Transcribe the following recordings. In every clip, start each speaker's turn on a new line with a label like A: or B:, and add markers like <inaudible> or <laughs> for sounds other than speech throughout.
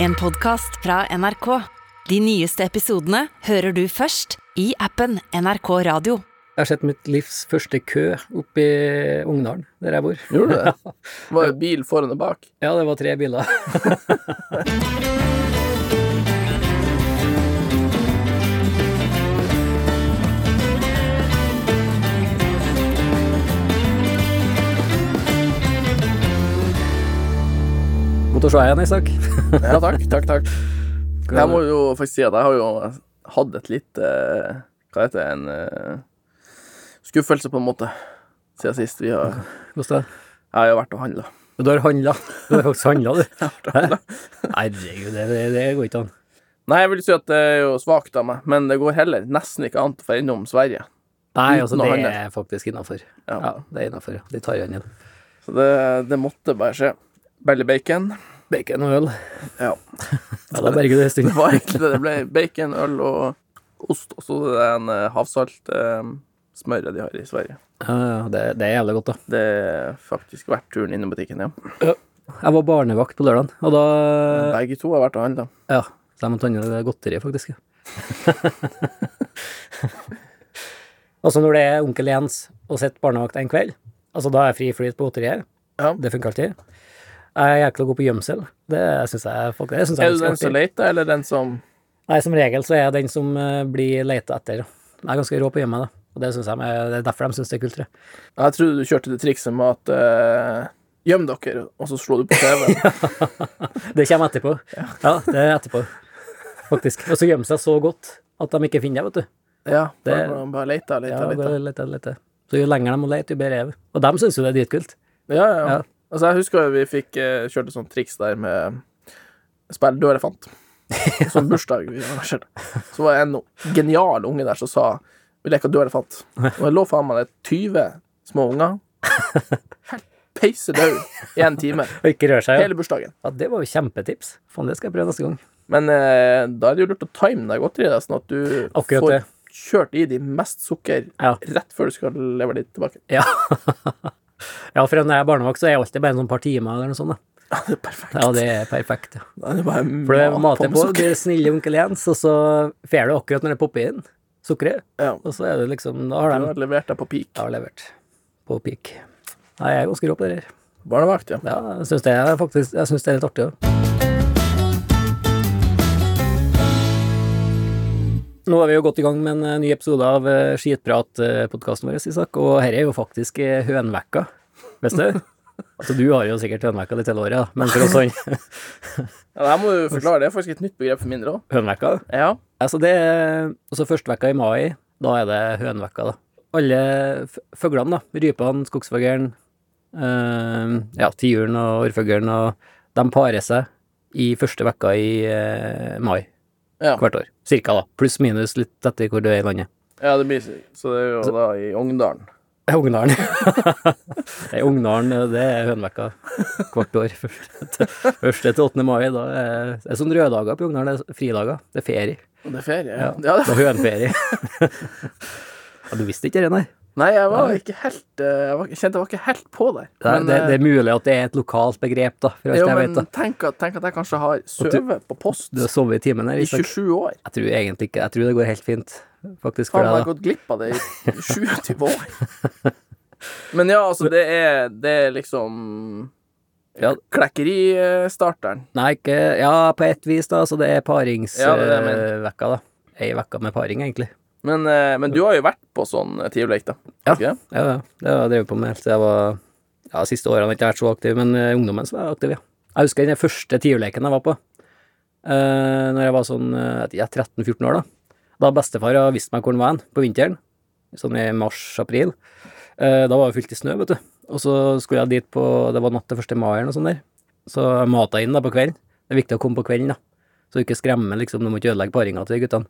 A: En podcast fra NRK. De nyeste episodene hører du først i appen NRK Radio.
B: Jeg har sett mitt livs første kø oppe i Ungdalen, der jeg bor.
C: Gjorde du det? Var det bil foran og bak?
B: Ja, det var tre biler. <laughs> Måtte se igjen, Isak.
C: Ja, takk, takk, takk. Jeg må jo faktisk si at jeg har jo hatt et lite Hva heter det? En eh, skuffelse, på en måte, siden sist. Vi har,
B: Hvordan
C: jeg har jo vært og handla.
B: det? Du har handla. Du har faktisk handla,
C: <laughs>
B: du. Hæ? Herregud, det, det, det går ikke an.
C: Nei, jeg vil si at det er jo svakt av meg, men det går heller nesten ikke an å få innom Sverige.
B: Nei,
C: Uten
B: altså,
C: å
B: det
C: handle.
B: er faktisk innafor.
C: Ja.
B: Ja, det er innafor. De tar igjen igjen.
C: Så det, det måtte bare skje. Belly bacon.
B: Bacon og øl.
C: Ja.
B: Ja, da berger du en stund.
C: Det var egentlig det det ble. Bacon, øl og ost, og så det en eh, havsalt-smøret de har i Sverige.
B: <laughs> Ja, ja, det, det er jævlig godt, da.
C: Det er faktisk verdt turen innom butikken, ja.
B: Jeg var barnevakt på lørdagen, og da
C: Begge to har vært og handla.
B: Ja, så jeg måtte handle godteri, <laughs> faktisk. altså, når det er onkel Jens og sitter barnevakt en kveld, altså da er fri flyt på godteriet.
C: Ja.
B: Det funker alltid. Jeg er jækla god på gjemsel. Det syns jeg folk det synes jeg
C: Er du
B: faktisk
C: den som
B: artig.
C: leter, eller den som
B: Nei, som regel så er jeg den som eh, blir leita etter. Jeg er ganske rå på å gjemme meg, da. Og det, synes jeg, er- det er derfor de syns det er kult, tror jeg.
C: Jeg trodde du kjørte det trikset med at eh, Gjem dere, og så slo du på <laughs> TV.
B: Det kommer etterpå. Ja, det er etterpå, faktisk. Og så gjemmer seg så godt at de ikke finner deg, vet du.
C: Ja,
B: Det-
C: bare, bare leita,
B: Ja,
C: leita, leita.
B: bare lete, lete. Så jo lenger de må lete, jo bedre er vi. Og de syns jo det er dritkult.
C: Ja, ja.
B: Ja.
C: Altså, jeg husker jo vi fikk eh, kjørt et sånt triks der med spill død elefant. <laughs> Sånn bursdag vi arrangerte. Så var det en genial unge der som sa vi leker død elefant. Og jeg lå faen meg der 20 små unger. <laughs> Helt Peise død i en time.
B: Og ikke røre seg. Ja.
C: Hele bursdagen.
B: ja, det var jo kjempetips. Faen, det skal jeg prøve neste gang.
C: Men eh, da er det jo lurt å time deg godt, Rida, sånn at du
B: Akkurat
C: får
B: det.
C: kjørt i de mest sukker
B: Ja.
C: rett før du skal levere ditt tilbake.
B: Ja. <laughs> ja, for når jeg er barnevakt, så er jeg alltid bare noen par timer eller noe sånt. Da.
C: Ja, det er perfekt.
B: Ja, det er perfekt. Ja.
C: Da er det bare
B: For det
C: mat
B: mater
C: med
B: på,
C: sukker.
B: du er snille onkel Jens, og så får du akkurat når det popper inn sukkeret.
C: Ja,
B: Og så er det liksom Da har
C: du
B: de
C: har levert deg på peak.
B: Jeg har levert på peak. Nei, jeg er ganske rå på det her.
C: Barnevakt, ja.
B: Ja, jeg syns det er faktisk Jeg synes det er litt artig òg. Nå er vi jo godt i gang med en eh, ny episode av Skitprat-podkasten vår, Isak, og her er jo faktisk eh, hønvekka, visste du? Altså, du har jo sikkert hønvekka ditt hele året, da, men for oss sånn
C: Ja, det her må du forklare. Det er faktisk et nytt begrep for mindre òg.
B: <laughs> hønvekka
C: Ja.
B: Altså, det er altså førstevekka i mai, da er det hønvekka, da. Alle f- fuglene, da. Rypene, skogsfuglen, eh, ja, tiuren og orrfuglen, og de parer seg i første vekka i eh, mai
C: Ja.
B: hvert år. Cirka, da. Pluss-minus litt etter hvor du er i landet.
C: ja, det blir Så det er
B: Altså-
C: jo da i Ungdalen.
B: Det er Ungdalen. <laughs> det er Ungdalen, eh, det er hønvekka hvert år. <laughs> Første til- Første til 8. mai. Da er det er sånn røde dager på Ungdalen, det er fridager. Det er ferie.
C: Og det er ferie. Ja.
B: Ja.
C: Ja,
B: Det
C: det...
B: er hønferie. <laughs> ja, du visste ikke det, nei?
C: Nei, jeg var ikke helt eh, Jeg, var, jeg kjente jeg var ikke helt på der.
B: Det er,
C: Men,
B: det,
C: eh,
B: det er mulig at det er et lokalt begrep, da, for alt
C: jo,
B: jeg
C: men
B: vet. da.
C: tenk, at, tenk at jeg kanskje har sovet på post
B: Du har sovet i timen her.
C: i
B: Isak.
C: 27 år.
B: Jeg tror egentlig ikke Jeg tror det går helt fint, faktisk, for
C: Faen, har jeg
B: deg, da.
C: gått glipp av det i 27 år? Men ja, altså, det er, det er liksom
B: Ja.
C: Klekkeristarteren.
B: Nei, ikke Ja, på ett vis, da. Så det er
C: Ja, det er det jeg
B: paringsvekka, da. Ei uke med paring, egentlig.
C: Men, eh, men du har jo vært på sånn tiurleik, da.
B: Ja.
C: Ikke det?
B: Ja, ja. Det har jeg drevet på med helt siden jeg var Ja, de siste årene har jeg ikke vært så aktiv, men eh, ungdommen så var jeg aktiv, ja. Jeg husker den første tiurleken jeg var på. Uh, når jeg var sånn eh, ja, 13-14 år, da. Da bestefar har visst meg hvor han var hen, på vinteren. Sånn i mars-april. Eh, da var det fylt i snø, vet du. Og så skulle jeg dit på Det var natt til 1. mai eller noe sånt der. Så jeg mata inn da på kvelden. Det er viktig å komme på kvelden, da. Så du ikke skremmer, liksom. Du må ikke ødelegge paringa til guttene.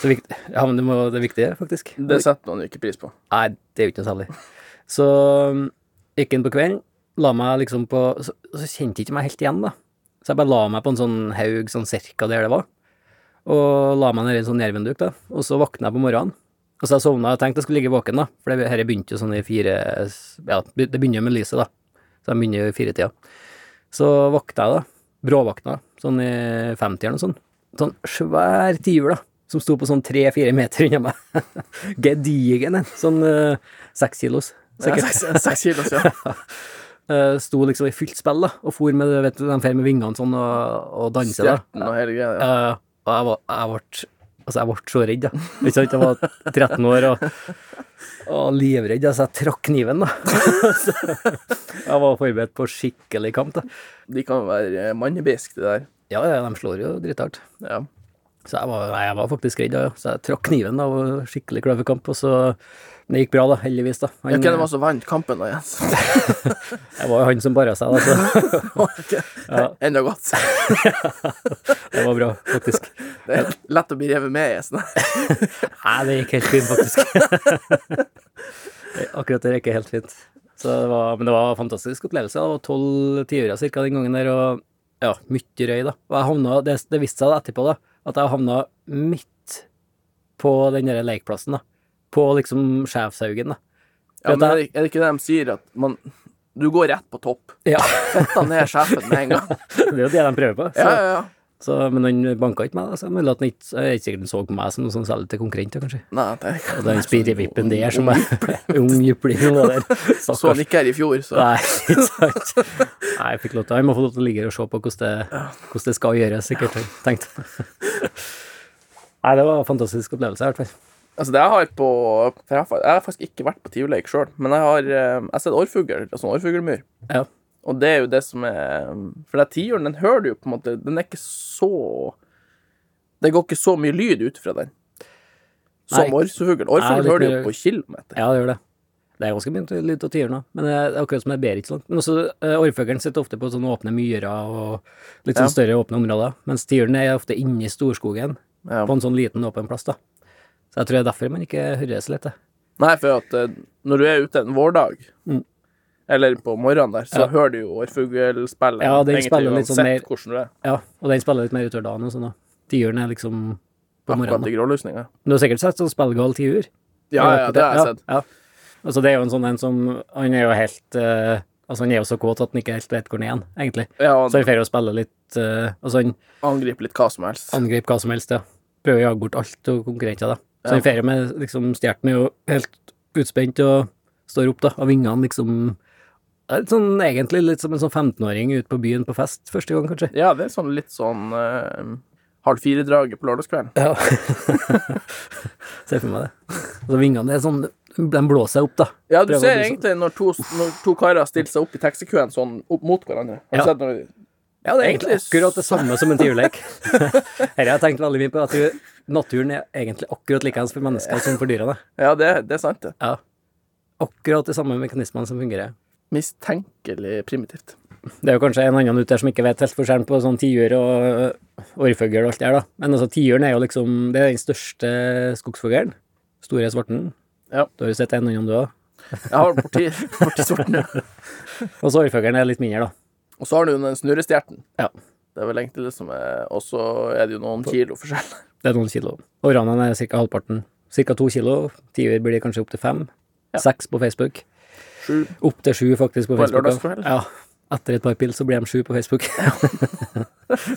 B: Så vikt, ja, men det, må, det er viktig, faktisk.
C: Det setter man jo ikke pris på.
B: Nei, det er jo ikke noe særlig. Så um, gikk inn på kvelden, la meg liksom på Så, så kjente jeg ikke meg helt igjen, da. Så jeg bare la meg på en sånn haug sånn cirka der det var, og la meg nedi en sånn nervenduk, da. Og så våkna jeg på morgenen. Og så jeg sovna, jeg tenkte jeg skulle ligge våken, da, for det dette begynte jo sånn i fire Ja, det begynner jo med lyset, da. Så jeg begynner jo i firetida. Så våkna jeg, da, bråvakta, sånn i 50-årene og sånn. Sånn svær tiur, da, som sto på sånn tre-fire meter unna meg. <laughs> Gedigen en. Sånn eh, seks kilos.
C: Ja,
B: Sikkert.
C: Seks
B: <laughs>
C: seks kilos, ja.
B: Eh, sto liksom i fylt spill, da, og for med det, vet du, de fer med vingene sånn og, og danser, da.
C: Stjerten og hele greia. Ja.
B: Eh, og jeg var, jeg ble, altså jeg ble så redd, da. Ikke sant, jeg var 13 år og, og livredd, altså jeg trakk kniven, da. <laughs> jeg var forberedt på skikkelig kamp, da.
C: De kan være eh, mannebisk, de der.
B: Ja, ja, de slår jo drithardt.
C: Ja.
B: Så jeg var, nei, jeg var faktisk redd, da, ja. Så jeg trakk kniven, da, og skikkelig kløverkamp, og så Men det gikk bra, da, heldigvis, da. Han,
C: Hvem var det som vant kampen, da, Jens?
B: Det var jo han som bara seg, da, så <laughs> Ja.
C: <laughs> Enda godt.
B: det var bra, faktisk.
C: Det er lett å bli revet med i en sånn
B: Nei, det gikk helt fint, faktisk. <laughs> Akkurat det gikk helt fint. Så det var, men det var en fantastisk opplevelse. Det var tolv tiåra cirka den gangen der, og ja, mye røy, da. Og jeg havna, det, det viste seg da etterpå, da, at jeg havna midt på den der lekeplassen, da. På liksom Skjevshaugen, da.
C: Ja,
B: Vet
C: men er
B: jeg-
C: det, er det ikke det de sier, at man Du går rett på topp.
B: Ja,
C: Fetta ned sjefen med en gang.
B: <laughs> det er jo det de prøver på. Så,
C: Ja, ja, ja.
B: så, men han banka ikke meg, da, så det er mulig at han ikke jeg er ikke sikkert han så på meg som noen sånn særlig til konkurrent, da, kanskje.
C: Nei, det er ikke
B: Og den spirrevippen der som er <laughs> ung jypling, hun var <laughs> der. Stakkars.
C: Så han ikke her i fjor, så
B: Nei, <laughs> ikke sant. Nei, jeg fikk lov til Jeg må få lov til å ligge her og se på hvordan det, hvordan det skal gjøres, sikkert. <laughs> Tenkt. Nei, det var en fantastisk opplevelse, i hvert fall.
C: Altså, det jeg har på Jeg har, fa- jeg har faktisk ikke vært på tiurleik sjøl, men jeg har eh, Jeg har sett orrfugl, altså orrfuglmyr.
B: Ja.
C: Og det er jo det som er For den tiuren, den hører du jo på en måte Den er ikke så Det går ikke så mye lyd ut fra den. Som
B: Nei.
C: orrfugl. Orrfugl
B: litt
C: hører du jo
B: mer-
C: på kilometer.
B: ja, det gjør det. Det er ganske mye lyd av tiuren, da. men det er akkurat som det er beritsland. Men også eh, orrfuglen sitter ofte på sånne åpne myrer og litt sånn større åpne områder, mens tiuren er ofte inne i storskogen,
C: Ja.
B: på en sånn liten åpen plass, da. Så jeg tror det er derfor man ikke hører så lett, det.
C: Nei, for at eh, når du er ute en vårdag,
B: Mm.
C: eller på morgenen der, så
B: Ja.
C: hører du jo orrfuglspillet.
B: Ja, den spiller litt sånn mer-
C: Hvordan du er.
B: Ja, og den spiller litt mer utover dagen og sånn, da. Tiuren er liksom på morgenen.
C: Akkurat
B: da.
C: i grålysninga.
B: Du har sikkert sett sånn spillgal tiur?
C: Ja, ja, det har jeg sett.
B: Ja. Altså, det er jo en sånn en som Han er jo helt eh, Altså, han er jo så kåt at han ikke helt vet hvor han er, igjen, egentlig.
C: Ja,
B: Så han får jo spille litt eh, Altså, han
C: Angripe litt hva som helst.
B: angriper hva som helst, ja. Prøver å jage bort alt og konkurrenter, da. Så han får jo med liksom Stjerten er jo helt utspent og står opp, da, og vingene liksom det er litt sånn, Egentlig litt som en sånn 15-åring ute på byen på fest første gang, kanskje.
C: Ja, det er sånn litt sånn eh, halv fire-draget på lørdagskvelden.
B: Ja. <laughs> Ser for meg det. Altså, vingene det er sånn De blåser opp, da.
C: Ja, du
B: Prøver å
C: ser
B: bli sånn-
C: egentlig når to, når to karer stiller seg opp i taxikøen sånn opp mot hverandre. Har du
B: Ja.
C: sett når de
B: Ja, det er egentlig akkurat det samme som en <laughs> tiurleik. Dette har jeg tenkt veldig mye på. Jeg tror naturen er egentlig akkurat likeens for mennesker som for dyrene.
C: Ja, det, det er sant, det.
B: Ja. Akkurat de samme mekanismene som fungerer.
C: Mistenkelig primitivt.
B: Det er jo kanskje en annen ute der som ikke vet helt forskjellen på sånn tiur og øh, orrfugl og alt det her, da. Men altså, tiuren er jo liksom Det er den største skogsfuglen. Store svarten.
C: Ja.
B: Du har jo sett en annen du òg.
C: Jeg har parti, <laughs> parti sorten, ja.
B: Og så orrfuglen er litt mindre, da.
C: Og så har du jo den snurrestjerten.
B: Ja.
C: Det er vel egentlig det som er Og så er det jo noen kilo forskjell.
B: Det er noen kilo. Orranene er ca. halvparten. Ca. to kilo. Tiur blir kanskje opptil fem. Seks på Facebook.
C: Sju.
B: Opp til sju, faktisk, på
C: På en
B: Facebook. da.
C: lørdagskveld?
B: Ja. Etter et par pils så blir de sju på Facebook. <laughs>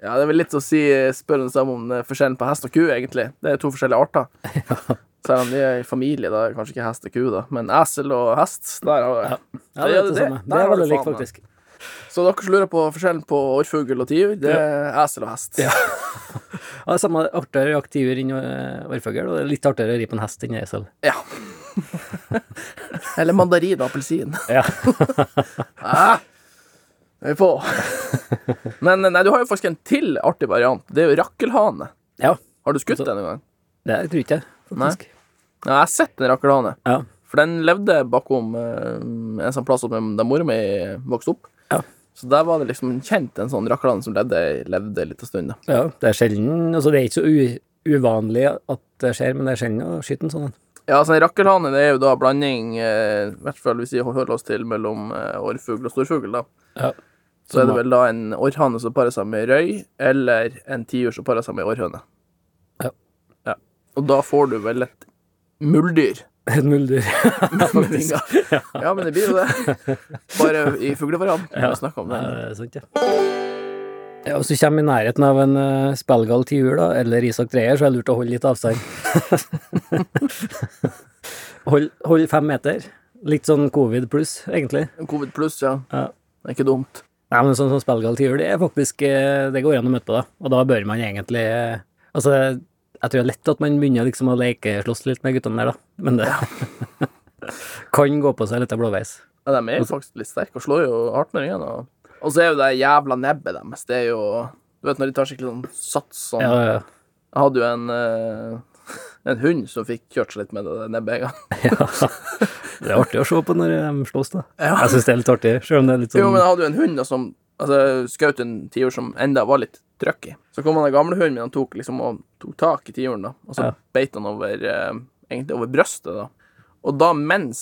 C: Ja, det er vel litt å si spørre den samme om eh, forskjellen på hest og ku, egentlig. Det er to forskjellige arter. <laughs> Selv om de er i familie, da er det kanskje ikke hest og ku, da. Men esel og hest, der har jeg.
B: Ja, det
C: Ja,
B: er det
C: det-
B: samme.
C: der
B: Det er
C: har du
B: veldig likt,
C: faen meg.
B: faktisk.
C: Så dere som lurer på forskjellen på orrfugl og tiur, det er esel og hest.
B: Ja, det er samme artigere å jakte tiur enn øh, orrfugl, og det er litt artigere å ri på en hest enn esel.
C: Ja. <laughs> Eller mandarin og appelsin.
B: Ja.
C: Ah, vi er på. Men eh, nei, du har jo faktisk en til artig variant. Det er jo rakkelhane.
B: <laughs> ja.
C: Har du skutt den en gang?
B: Det tror ikke jeg, faktisk.
C: Nei, jeg har sett en rakkelhane.
B: Ja.
C: For den levde bakom eh, en sånn plass oppe der mora mi vokste opp.
B: Ja.
C: Så der var det liksom kjent en sånn rakkelhane som levde, levde litt en stund. da.
B: ja. Det er sjelden Altså, det er ikke så u uvanlig at det skjer, men det er sjelden å skyte en sånn en.
C: Ja, altså en rakkelhane det er jo da blanding, eh, i hvert fall hvis vi hører oss til, mellom eh, orrfugl og storfugl. da.
B: <laughs> Ja.
C: Så er det vel da en orrhane som parer seg med røy, eller en tiur som parer seg med orrhøne.
B: Ja.
C: Ja. Og da får du vel et muldyr <laughs>
B: Et muldyr. Faktisk.
C: Ja. ja, men det blir jo det. Bare i fuglevarianten. Ja. om
B: Ja,
C: den.
B: det er sant, ja. Ja, Hvis du kommer i nærheten av en uh, spillgal til jul, da, eller Isak Dreyer, så er det lurt å holde litt avstand. <laughs> hold, hold fem meter. Litt sånn covid pluss, egentlig.
C: Covid pluss, ja.
B: Ja.
C: Det er ikke dumt.
B: Nei, men sånn som spillgal til jul, det er faktisk eh, Det går an å møte på, da. Og da bør man egentlig eh, Altså, jeg tror det er lett at man begynner liksom å lekeslåss litt med guttene der, da. Men det <laughs> kan gå på seg litt av blåveis.
C: Ja, de er jo faktisk litt sterke og slår jo 18-åringene. Og, og så er jo det jævla nebbet deres. Det er jo Du vet når de tar skikkelig sånn sats sånn.
B: Ja, ja, ja.
C: Jeg hadde jo en eh, <laughs> en hund som fikk kjørt seg litt med det der nebbet en gang.
B: Ja. <laughs> Det er artig å se på når de slåss, da.
C: Ja.
B: Jeg syns det er litt artig, selv om det er litt sånn
C: Jo, men jeg hadde jo en hund da som altså, skjøt en tiur som enda var litt trøkk i. Så kom han den gamle hunden min, han tok liksom og tok tak i tiuren, da. Og så
B: Ja.
C: beit han over eh, egentlig over brøstet, da. Og da, mens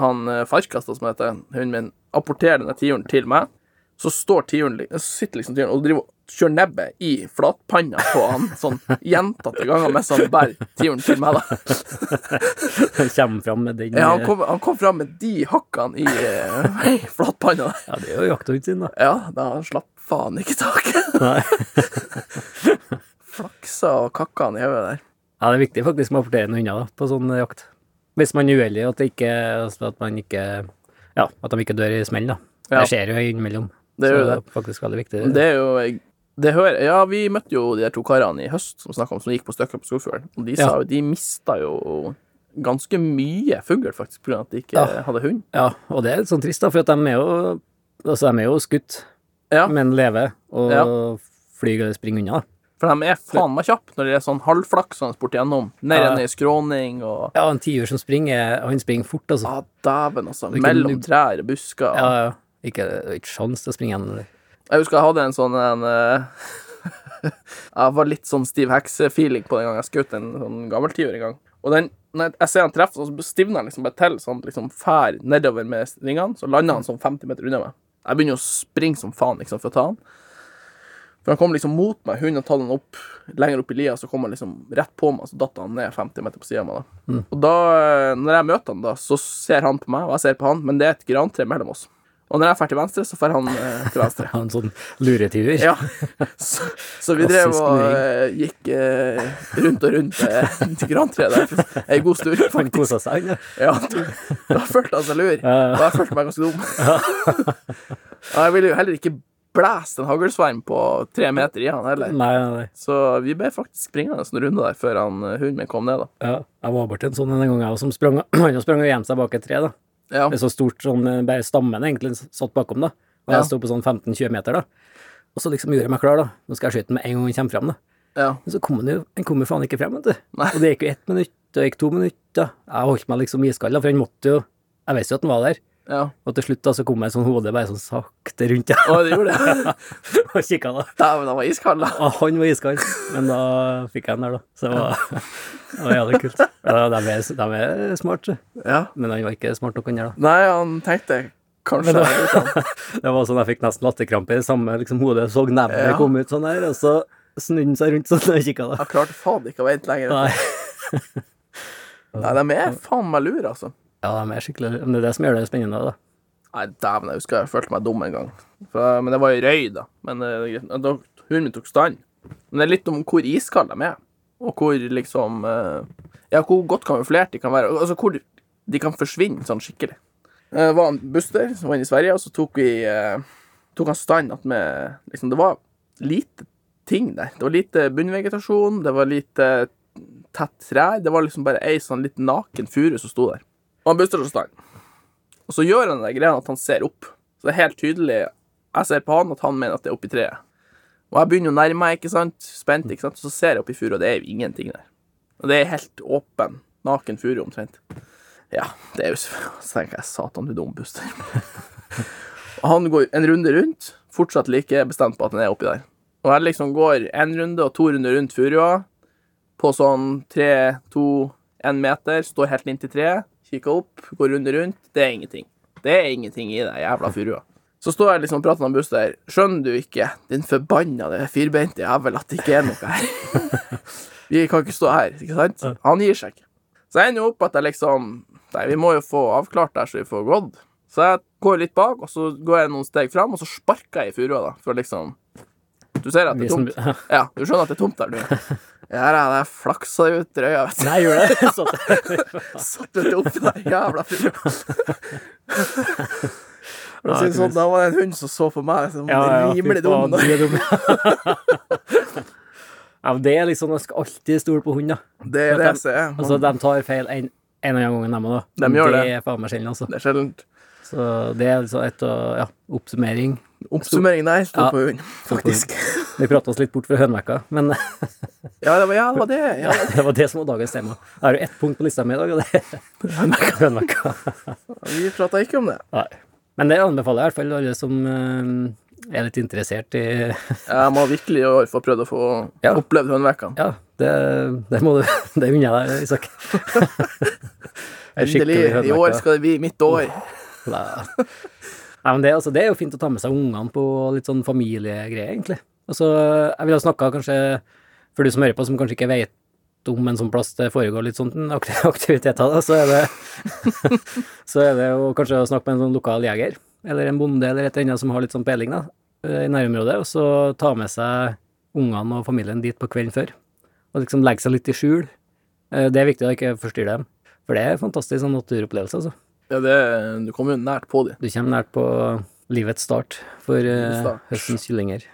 C: han eh, farkasta, som heter hunden min, apporterer denne tiuren til meg, så står tiuren li- så sitter liksom tiuren og driver og kjører nebbet i flatpanna på han sånn gjentatte ganger mens han bærer tiuren til meg, da.
B: sånn, <laughs> kommer fram med den eh,
C: Ja, han kom, han kom fram med de hakkene i, eh, <laughs> i flatpanna.
B: Ja, det er jo jakthunden sin, da.
C: Ja, da han slapp faen ikke taket.
B: <laughs> Nei.
C: <laughs> Flaksa og kakka han i hodet der.
B: Ja, det er viktig faktisk med å apportere noen hunder da, på sånn jakt. Hvis man er uheldig, at, det ikke, altså at man ikke Ja, at de ikke dør i smell, da.
C: Ja.
B: Det skjer jo innimellom.
C: Det gjør
B: så
C: jo
B: er faktisk veldig viktig.
C: Det er jo det hører, Ja, vi møtte jo de der to karene i høst som snakka om som gikk på støkker på Skogfjorden. Og de sa
B: Ja.
C: jo de mista jo ganske mye fugl, faktisk, pga. at de ikke
B: Ja.
C: hadde hund.
B: Ja, og det er litt sånn trist, da, for at de er jo Altså, de er jo skutt,
C: Ja.
B: men lever og
C: Ja.
B: flyr eller springer unna, da.
C: For de er faen meg kjappe når de er sånn halvflaksende bort igjennom. Ned
B: Ja.
C: igjen i skråning og
B: Ja, en tiur som springer, han springer fort, altså.
C: Ja, dæven, altså.
B: Det er ikke
C: Mellom
B: nubb.
C: trær og busker.
B: Ja, ja. Ikke, det er ikke sjans til å springe igjen. eller?
C: Jeg husker jeg hadde en sånn en, eh, <laughs> Jeg var litt sånn Stiv Hekse-feeling på den gangen jeg skjøt en sånn gammel tiur en gang. Og den, når jeg ser han treffe, så stivner han liksom bare til, så han liksom fær nedover med vingene. Så lander han sånn 50 meter unna meg. Jeg begynner å springe som faen liksom for å ta han. For han kom liksom mot meg, hunden tar han opp lenger opp i lia, så kom han liksom rett på meg, så datt han ned 50 meter på sida av meg. da. Og da, eh, når jeg møter han, da, så ser han på meg, og jeg ser på han, men det er et grantre mellom oss. Og når jeg drar til venstre, så drar han eh, til venstre.
B: Ja, en sånn luretiur.
C: <laughs> Ja. Så, så vi drev
B: Klassisk
C: og
B: luring.
C: eh, gikk eh, rundt og rundt eh, <laughs> til grantreet der ei god stund,
B: <laughs> Han
C: faktisk.
B: kosa seg, han. ja.
C: Ja, da, da følte han seg lur,
B: ja.
C: og jeg følte meg ganske dum. <laughs> Og jeg ville jo heller ikke blæste en haglsverm på tre meter i han heller.
B: Nei, nei, nei.
C: Så vi ble faktisk springende en runde der før han, eh, hunden min kom ned, da.
B: Ja, jeg var borti en sånn en gang, jeg også, som sprang, han sprang og <clears throat> gjemte seg bak et tre. da.
C: Ja.
B: Det er så stort, sånn, eh, bare stammen egentlig satt bakom, da. Og
C: Ja.
B: jeg sto på sånn 15-20 meter, da. Og så liksom gjorde jeg meg klar, da. Nå skal jeg skyte den med en gang han kommer frem, da.
C: ja.
B: Men så kom han jo han kom jo faen ikke frem, vet du.
C: Nei.
B: Og det gikk jo ett minutt, og det gikk to minutter. Jeg holdt meg liksom iskald, da, for han måtte jo Jeg visste jo at han var der.
C: ja.
B: Og til slutt da, så kom jeg sånn hodet bare sånn sakte rundt, ja.
C: Og det gjorde det.
B: <laughs> og kikka, da.
C: Dæven, han var iskald, da.
B: Og Ah, han var iskald, men da fikk jeg den der, da. Så det var, det var jævlig kult. Ja, de er, de er smarte,
C: Ja.
B: men han var ikke smart nok, han der, da.
C: Nei, han tenkte kanskje
B: Men
C: jeg
B: det, det var sånn jeg fikk nesten latterkrampe i samme liksom, hodet. Så nebbet
C: Ja.
B: komme ut sånn her, og så snudde han seg rundt sånn og kikka
C: <laughs>
B: da.
C: Jeg klarte faen ikke å vente lenger.
B: Nei.
C: Nei, de er faen meg lure, altså.
B: Ja, de er skikkelig Men det er det som gjør det spennende, da.
C: Nei, dæven, jeg husker jeg følte meg dum en gang. For, eh, men det var i røy, da. Men eh, det er greit. da, hunden min tok stand. Men det er litt om hvor iskalde de er, og hvor liksom eh, Ja, hvor godt kamuflert de kan være. Altså hvor de kan forsvinne sånn skikkelig. Det var en Buster som var inne i Sverige, og så tok vi eh, tok han stand at med, liksom, Det var lite ting der. Det var lite bunnvegetasjon, det var lite tett trær. Det var liksom bare ei sånn litt naken furu som sto der. Og han Buster tok stand. Og så gjør han den greia at han ser opp. Så det er helt tydelig Jeg ser på han at han mener at det er oppi treet. Og jeg begynner å nærme meg, ikke sant? Spent, ikke sant? Så ser jeg oppi furu, og det er jo ingenting der. Og det er helt åpen, naken furu omtrent. Ja, det er jo selvfølgelig Så <laughs> tenker jeg, satan, du dum buster. <laughs> og han går en runde rundt, fortsatt like bestemt på at han er oppi der. Og jeg liksom går en runde og to runder rundt furua, på sånn tre, to, én meter, står helt inntil treet, kikker opp, går runde rundt. Det er ingenting. Det er ingenting i det jævla furua. Så står jeg liksom og prater med Buster. Skjønner du ikke, din forbannede <laughs> firbeinte jævel, at det ikke er noe her? Vi kan ikke stå her, ikke sant? Han gir seg ikke. Så jeg ender jo opp at jeg liksom Nei, vi må jo få avklart det her, så vi får gått. Så jeg går litt bak, og så går jeg noen steg fram, og så sparker jeg i furua, da, for liksom Du ser at det er
B: Visen-
C: tomt? Ja, du skjønner at det er tomt der, du. Ja, da, det flaksa ut røya, vet du.
B: Nei, gjør <laughs> det. Så at-
C: Satt vet du oppi der jævla
B: <laughs>
C: furua. For å si det sånn, da var det en hund som så på meg som rimelig
B: fy faen,
C: dum. da.
B: du er dum. <laughs> ja, men det er liksom, jeg skal alltid stole på hund, da.
C: Det er det jeg ser.
B: Altså, de tar feil en, en eller annen gang, dem òg, da.
C: De gjør
B: det.
C: det.
B: er faen meg sjelden, altså.
C: Det er sjeldent.
B: Så det er liksom et av Ja, oppsummering.
C: Oppsummering der, stå
B: Ja.
C: på hund,
B: på hund.
C: faktisk.
B: <laughs> Vi prata oss litt bort fra hønvekka, men <laughs>
C: Ja, det var, ja, det, var det. Ja,
B: det var det som var dagens tema. Jeg har jo ett punkt på lista mi i dag, og det
C: <laughs>
B: er <laughs> hønvekka.
C: vi prata ikke om det.
B: Nei. Men det anbefaler jeg i hvert fall alle som eh, er litt interessert i <laughs>
C: Jeg må virkelig i år få prøvd å få
B: Ja.
C: opplevd hønvekkene.
B: Ja, det, det må du <laughs> Det unner jeg deg, Isak. En skikkelig
C: <laughs> Endelig. I
B: hønvekka.
C: år skal det bli mitt år.
B: Nei. Nei, men det, altså, det er jo fint å ta med seg ungene på litt sånn familiegreier, egentlig. Altså, jeg ville ha snakka kanskje for du som hører på, som kanskje ikke vet om en sånn plass det foregår litt sånn <laughs> akti- aktiviteter, da, så er det <laughs> Så er det jo kanskje å snakke med en sånn lokal jeger, eller en bonde eller et eller annet som har litt sånn peiling, da, eh, i nærområdet, og så ta med seg ungene og familien dit på kvelden før. Og liksom legge seg litt i skjul. Eh, Det er viktig å ikke forstyrre dem, for det er en fantastisk sånn naturopplevelse, altså.
C: Ja, det, du kommer jo nært på dem.
B: Du kommer nært på livets start for eh,
C: start.
B: høstens kyllinger.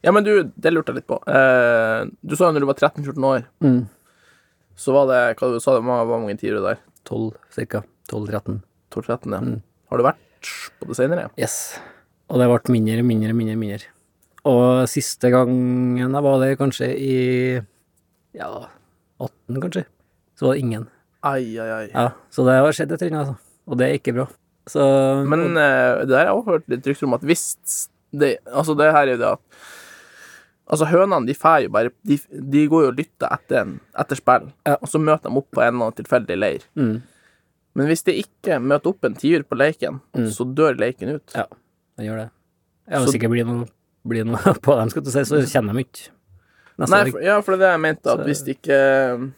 C: Ja, men du, det lurte jeg litt på. Eh, du sa jo når du var 13-14 år,
B: Mm.
C: så var det Hva du sa du? Hvor mange tiere der?
B: 12, ca. 12-13.
C: 12-13, ja. Har du vært på det senere?
B: Yes. Og det ble mindre, mindre, mindre, mindre. Og siste gangen jeg var der, kanskje i ja, 18, kanskje, så var det ingen.
C: Ai, ai, ai.
B: Ja, Så det har skjedd et eller annet, altså. Og det er ikke bra. Så
C: Men eh, det der har jeg også hørt litt rykter om at hvis det, Altså, det her er jo det at Altså, hønene de fær jo bare De, de går jo og lytter etter, en, etter spill,
B: Ja.
C: og så møter de opp på en eller annen tilfeldig leir.
B: mm,
C: Men hvis de ikke møter opp en tiur på leiken, så dør leiken ut.
B: Ja, den gjør det. Ja,
C: Så-
B: Hvis det ikke blir noe, blir noe <laughs> på dem, skal du si, så kjenner de ikke. Neste
C: Nei,
B: gang.
C: for, ja, for det er det altså, jeg mente, at
B: Så-
C: hvis de ikke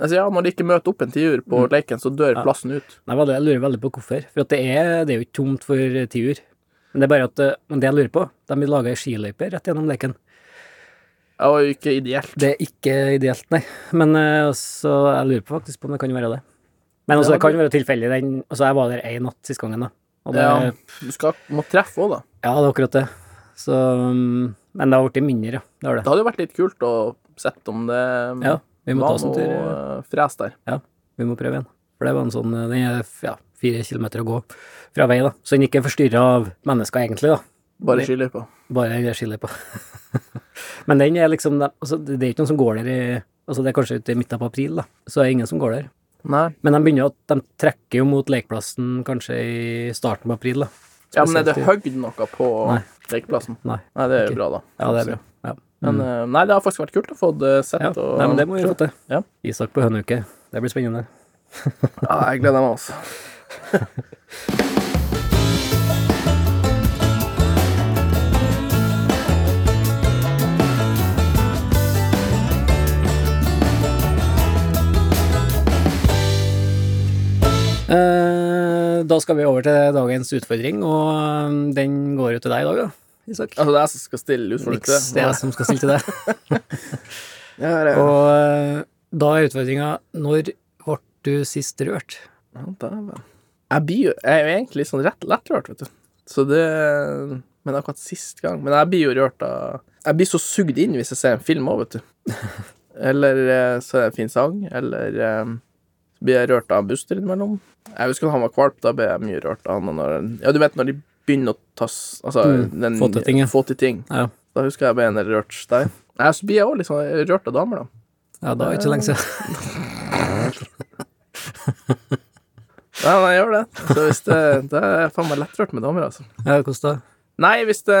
C: Altså, ja, når de ikke møter opp en tiur på leiken, så dør plassen ut.
B: Nei, hva det- jeg lurer veldig på hvorfor. For at det, er, det er jo ikke tomt for tiur. Men det er bare at eh, men det jeg lurer på, de vil lage ei skiløype rett gjennom leken.
C: Det var jo ikke ideelt.
B: Det er ikke ideelt, nei. Men eh, så jeg lurer på faktisk på om det kan være det. Men også,
C: Ja,
B: det kan være tilfeldig. den- Altså, jeg var der én natt siste gangen, da. Og det,
C: Ja, eh,
B: ja.
C: du skal, må treffe òg, da.
B: det er akkurat det. Så mm, Men det har blitt mindre, ja. Det har det.
C: Det hadde jo vært litt kult å sett om det
B: Ja, vi må
C: var
B: ta oss en tur.
C: noe
B: ja.
C: eh, fres der.
B: Ja, vi må prøve igjen. For det var en sånn eh, Den er f- ja, fire kilometer å gå fra vei, da. Så den ikke er forstyrra av mennesker, egentlig, da.
C: Bare skiløypa.
B: Bare jeg skiller på. <laughs> Men den er liksom altså, Det er ikke noen som går der i altså, Det er kanskje ute i midten av april, da. Så er det ingen som går der.
C: Nei.
B: Men de begynner jo at de trekker jo mot lekeplassen kanskje i starten av april, da.
C: Ja, men er det
B: Spesielt i-
C: høgd noe på
B: Nei.
C: lekeplassen?
B: Nei.
C: Nei, det er
B: Ok.
C: jo bra, da.
B: Ja, det er bra. Ja.
C: Men eh, nei, det har faktisk vært kult å få det sett.
B: ja.
C: og
B: Nei, men det må vi få til.
C: Ja.
B: Isak på høneuke. Det blir spennende.
C: Ja, jeg gleder meg altså. også.
B: Eh, da skal vi over til dagens utfordring, og eh, den går jo til deg i dag, da. Isak.
C: Altså, det er jeg som skal stille utfordring til
B: Niks, det er jeg som skal stille til deg.
C: Ja, det er-
B: Og eh, da er utfordringa når ble du sist rørt?
C: Ja, dæven. Jeg blir jo Jeg er jo egentlig litt sånn rett lettrørt, vet du. Så det Men akkurat sist gang Men jeg blir jo rørt av Jeg blir så sugd inn hvis jeg ser en film òg, vet du. <laughs> Eller eh, så er det en fin sang, eller eh, så blir jeg rørt av en buster innimellom. Jeg husker da han var kvalp, da ble jeg mye rørt av han. og Når, ja, du vet når de begynner å ta s- Altså
B: Mm,
C: den-
B: få til ting, ja.
C: få til ting.
B: Ja.
C: Da husker jeg jeg ble en del rørt der. Nei, så blir jeg òg litt sånn rørt av damer, da.
B: Ja, da er det ikke lenge
C: <laughs>
B: siden.
C: Nei, nei, jeg gjør det. Så hvis det, det er faen meg lettrørt med damer, altså.
B: Ja, hvordan da?
C: Nei, hvis, det,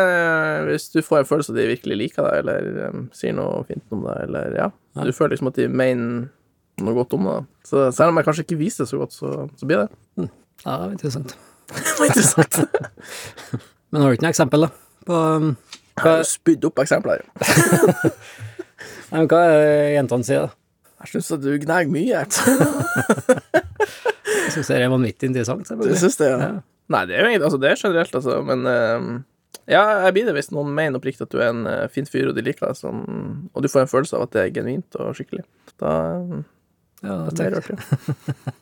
C: hvis du får en følelse at de virkelig liker deg, eller um, sier noe fint om deg, eller ja,
B: Ja.
C: du føler liksom at de mener noe godt om deg. Så selv om jeg kanskje ikke viser det så godt, så, så blir det.
B: Ja, det var interessant.
C: Det var <laughs> interessant.
B: <laughs> Men har du ikke noe eksempel, da? På, um,
C: Jeg har jo spydd opp eksempler. her.
B: nei, men hva er det jentene sier, da?
C: Jeg syns at du gnager mye. <laughs>
B: Jeg syns det er vanvittig interessant.
C: Du
B: selvfølgelig.
C: syns det, ja. Nei, det er jo egentlig altså, det er generelt, altså, men eh, Ja, jeg blir det hvis noen mener oppriktig at du er en eh, fin fyr, og de liker deg sånn, og du får en følelse av at det er genuint og skikkelig. Da eh,
B: Ja,
C: det
B: takk.
C: er rart, ja.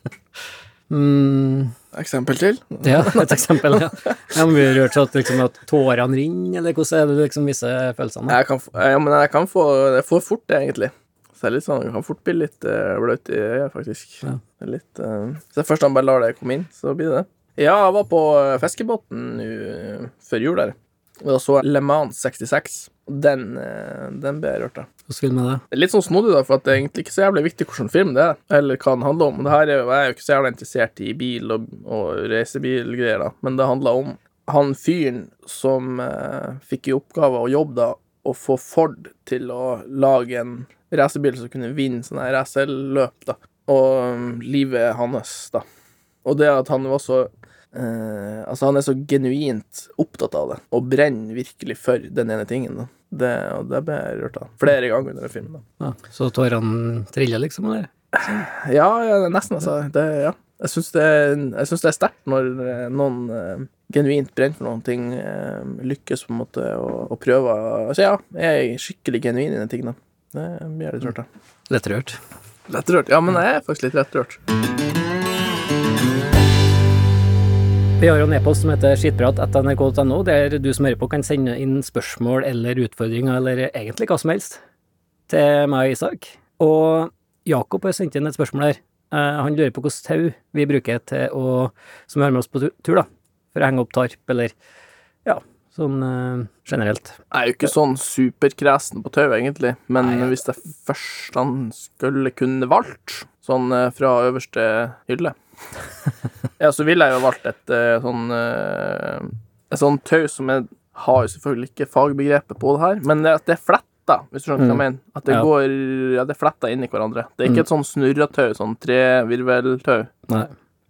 B: Mm,
C: Eksempel til?
B: ja, et eksempel.
C: <laughs>
B: Ja. Jeg har mye rørt seg at, liksom, at tårene renner, eller hvordan er det du liksom viser følelsene?
C: Jeg kan, få- ja, men jeg kan få Jeg får fort det, egentlig. Så jeg er litt sånn, jeg kan fort bli litt eh, bløt i øyet, faktisk.
B: Ja.
C: Det er Litt, eh, så først han bare lar det komme inn, så blir det det. Ja, jeg var på eh, fiskebåten nå, eh, før jul der, og da så jeg Le Mans 66. Og den, eh, den ble jeg rørt av.
B: Hvordan film er det?
C: Det er Litt sånn snodig, da, for at det er egentlig ikke så jævlig viktig hvilken film det er, eller hva den handler om. Det her er, jo- jeg er jo ikke så jævlig interessert i bil og, og reisebilgreier, da, men det handler om han fyren som eh, fikk i oppgave å jobbe da, å få Ford til å lage en racerbil som kunne vinne sånne her racerløp, da, og mm, livet hans, da. Og det at han var så eh, Altså, han er så genuint opptatt av det, og brenner virkelig for den ene tingen. Da. Det, og det ble jeg rørt av. Flere ganger under den filmen. Da.
B: Ja, så tårene triller, liksom? Eller?
C: Ja, ja, nesten, altså. Det, ja. Jeg syns det, jeg synes det er sterkt når eh, noen eh, genuint brenner for noen ting, eh, lykkes på en måte og, og prøver Altså, ja, jeg er skikkelig genuin i den tingen. Da. Det blir jeg litt rørt av.
B: Lettrørt.
C: Lettrørt? Ja, men jeg er faktisk litt lettrørt.
B: Vi har jo en e-post som heter skitprat.nrk.no, der du som hører på kan sende inn spørsmål eller utfordringer, eller egentlig hva som helst, til meg og Isak. Og Jakob har sendt inn et spørsmål her. Eh, han lurer på hvilket tau vi bruker til å, som vi har med oss på tu- tur, da, for å henge opp tarp, eller ja, sånn eh, generelt.
C: Jeg er jo ikke sånn superkresen på tau, egentlig, men hvis jeg først han skulle kunne valgt, sånn eh, fra øverste
B: <laughs>
C: hylle Ja, så ville jeg jo valgt et eh, sånn eh, Et sånn tau som jeg har jo selvfølgelig ikke fagbegrepet på det her, men det, at det er fletta, hvis du skjønner hva jeg mener. At det
B: Mm. Ja. Mm.
C: går Ja, det er fletta inni hverandre. Det er ikke et sånn snurretau, sånn trevirveltau,
B: Nei.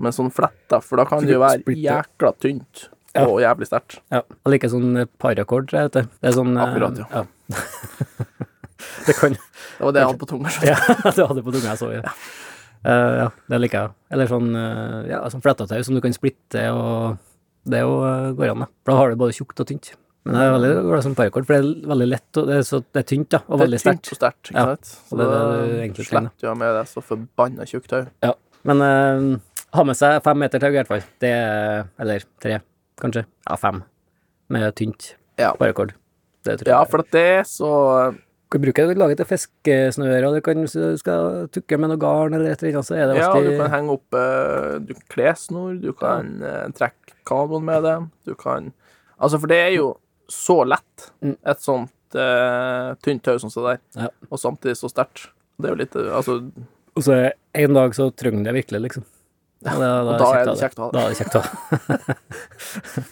C: men sånn fletta, for da kan det jo være
B: Splitter.
C: jækla tynt
B: Ja.
C: og jævlig sterkt.
B: Ja. Jeg liker sånn parakord, tror jeg det heter. Det er sånn eh,
C: Akkurat, ja.
B: <laughs> det kan
C: Det var det jeg hadde på tunga. skjønner
B: <laughs>
C: du.
B: Ja, du hadde på tunga, jeg så ja. Eh, ja, det liker jeg. Eller sånn, eh, ja, sånn flettetau som du kan splitte, og det jo eh, går an, da. For da har du både tjukt og tynt. Men jeg er veldig glad i sånn parakord, for det er veldig lett, og det er, så, det er tynt, da, og veldig sterkt.
C: Det er tynt og sterkt, ikke
B: Ja,
C: sant? Så
B: det
C: det
B: er det du
C: da
B: egentlig trenger.
C: slipper du å ha med deg så forbanna tjukt tau.
B: Ja. Men eh, ha med seg fem meter tau, i hvert fall. Det er, eller tre, kanskje. Ja, fem. Med tynt
C: Ja.
B: parakord. Det tror jeg.
C: Ja, for at det er så
B: Du kan bruke det til å lage til fiskesnører, og du kan, hvis du skal tukke med noe garn eller et eller annet, så er det
C: Ja, du
B: alltid
C: kan henge opp eh, Du kan klessnor, du kan eh, trekke kanoen med det, du kan Altså, for det er jo så lett,
B: Mm.
C: et sånt eh, tynt tau som det der,
B: Ja.
C: og samtidig så sterkt. Det er jo litt eh, Altså,
B: Og så en dag så trenger du det virkelig, liksom. Og da,
C: og da er det kjekt å ha det.
B: Da er det kjekt å ha det.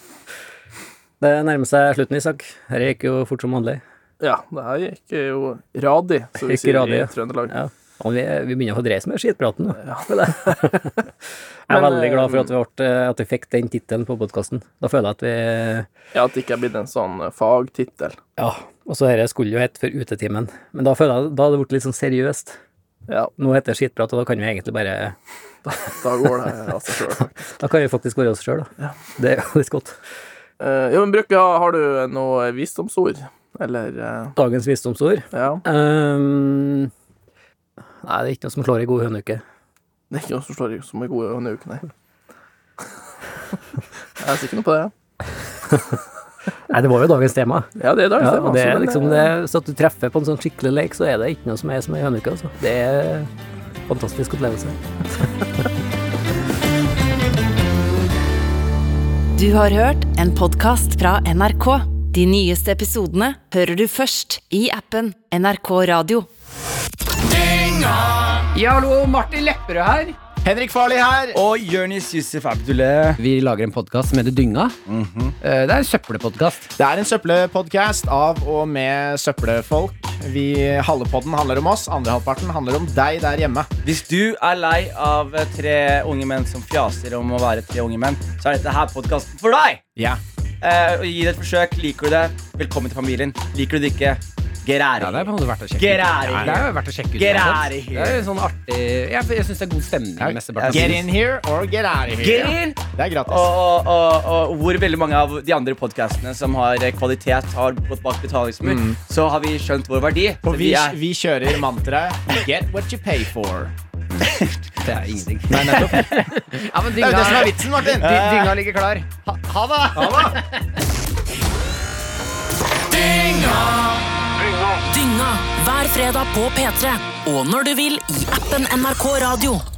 B: <laughs> det nærmer seg slutten, Isak. Dette gikk jo fort som vanlig.
C: ja, det her gikk jo radig, som vi
B: Gikk
C: sier
B: radig,
C: i
B: ja.
C: Trøndelag.
B: Ja. Og vi, vi begynner å få dreis med skitpraten nå.
C: Ja. <laughs>
B: Jeg er
C: Men,
B: veldig glad for at
C: eh,
B: vi, ble, at vi fikk den tittelen på podkasten. Da føler jeg at vi
C: Ja, at det ikke er blitt en sånn eh, fagtittel.
B: Ja, og så dette skulle jo hett For utetimen, men da føler jeg da hadde det blitt litt sånn seriøst.
C: Ja,
B: Nå heter det skitprat, og da kan vi egentlig bare
C: da går det altså, av seg sjøl.
B: Da kan vi faktisk være oss sjøl, da.
C: Ja.
B: Det er jo litt godt.
C: Eh, jo, men bruker, har du noe visdomsord? Eller eh,
B: Dagens visdomsord
C: Ja.
B: Ehm, nei, det er ikke noe som slår ei god høneuke.
C: Det er ikke noe som slår i som er gode denne uken, nei. <laughs> Jeg er sikker på det.
B: Nei, det var jo dagens tema.
C: Ja, det er dagens
B: Ja,
C: tema.
B: og det
C: så,
B: er
C: men,
B: liksom
C: eh,
B: det, så at du treffer på en sånn skikkelig lek, så er det ikke noe som er som ei høneuke, altså. Det er fantastisk opplevelse.
A: Du har hørt en podkast fra NRK. De nyeste episodene hører du først i appen NRK Radio.
D: Ja, hallo, Martin Lepperød her.
E: Henrik Farley her. Og Jonis Yusuf Abdullah.
D: Vi lager en podkast som heter Dynga. Eh, Det er en søppelpodkast.
E: Det er en søppelpodkast av og med søppelfolk. Vi, halve podden handler om oss, andre halvparten handler om deg der hjemme.
F: Hvis du er lei av eh, tre unge menn som fjaser om å være tre unge menn, så er dette her podkasten for deg!
E: Ja.
F: Eh, og gi det et forsøk. Liker du det, velkommen til familien. Liker du det ikke,
D: Ja, det er på
F: Geræring.
D: en måte verdt å sjekke ut.
F: Gerari.
D: Ja, Det er jo verdt å sjekke ut.
F: Gerari.
D: uansett. Det er jo sånn artig Jeg, jeg syns det er god stemning.
E: Ja,
D: mesteparten av
E: Get
D: tiden.
E: in here or get out of
F: Get
E: here.
F: in!
E: Det er gratis.
F: Og, og, og, og hvor veldig mange av de andre podcastene som har eh, kvalitet, har gått bak betalingsmur, så har vi skjønt vår verdi. Så
E: Og vi,
F: er,
E: vi kjører mantraet Get what you pay for.
D: Det er ingenting. Nei, nettopp. ja, men
E: Det er jo det som
D: dynga,
E: er vitsen, Martin.
D: dy- dynga ligger klar.
E: Ha det!
G: Dynga hver fredag på P3. Og når du vil i appen NRK Radio.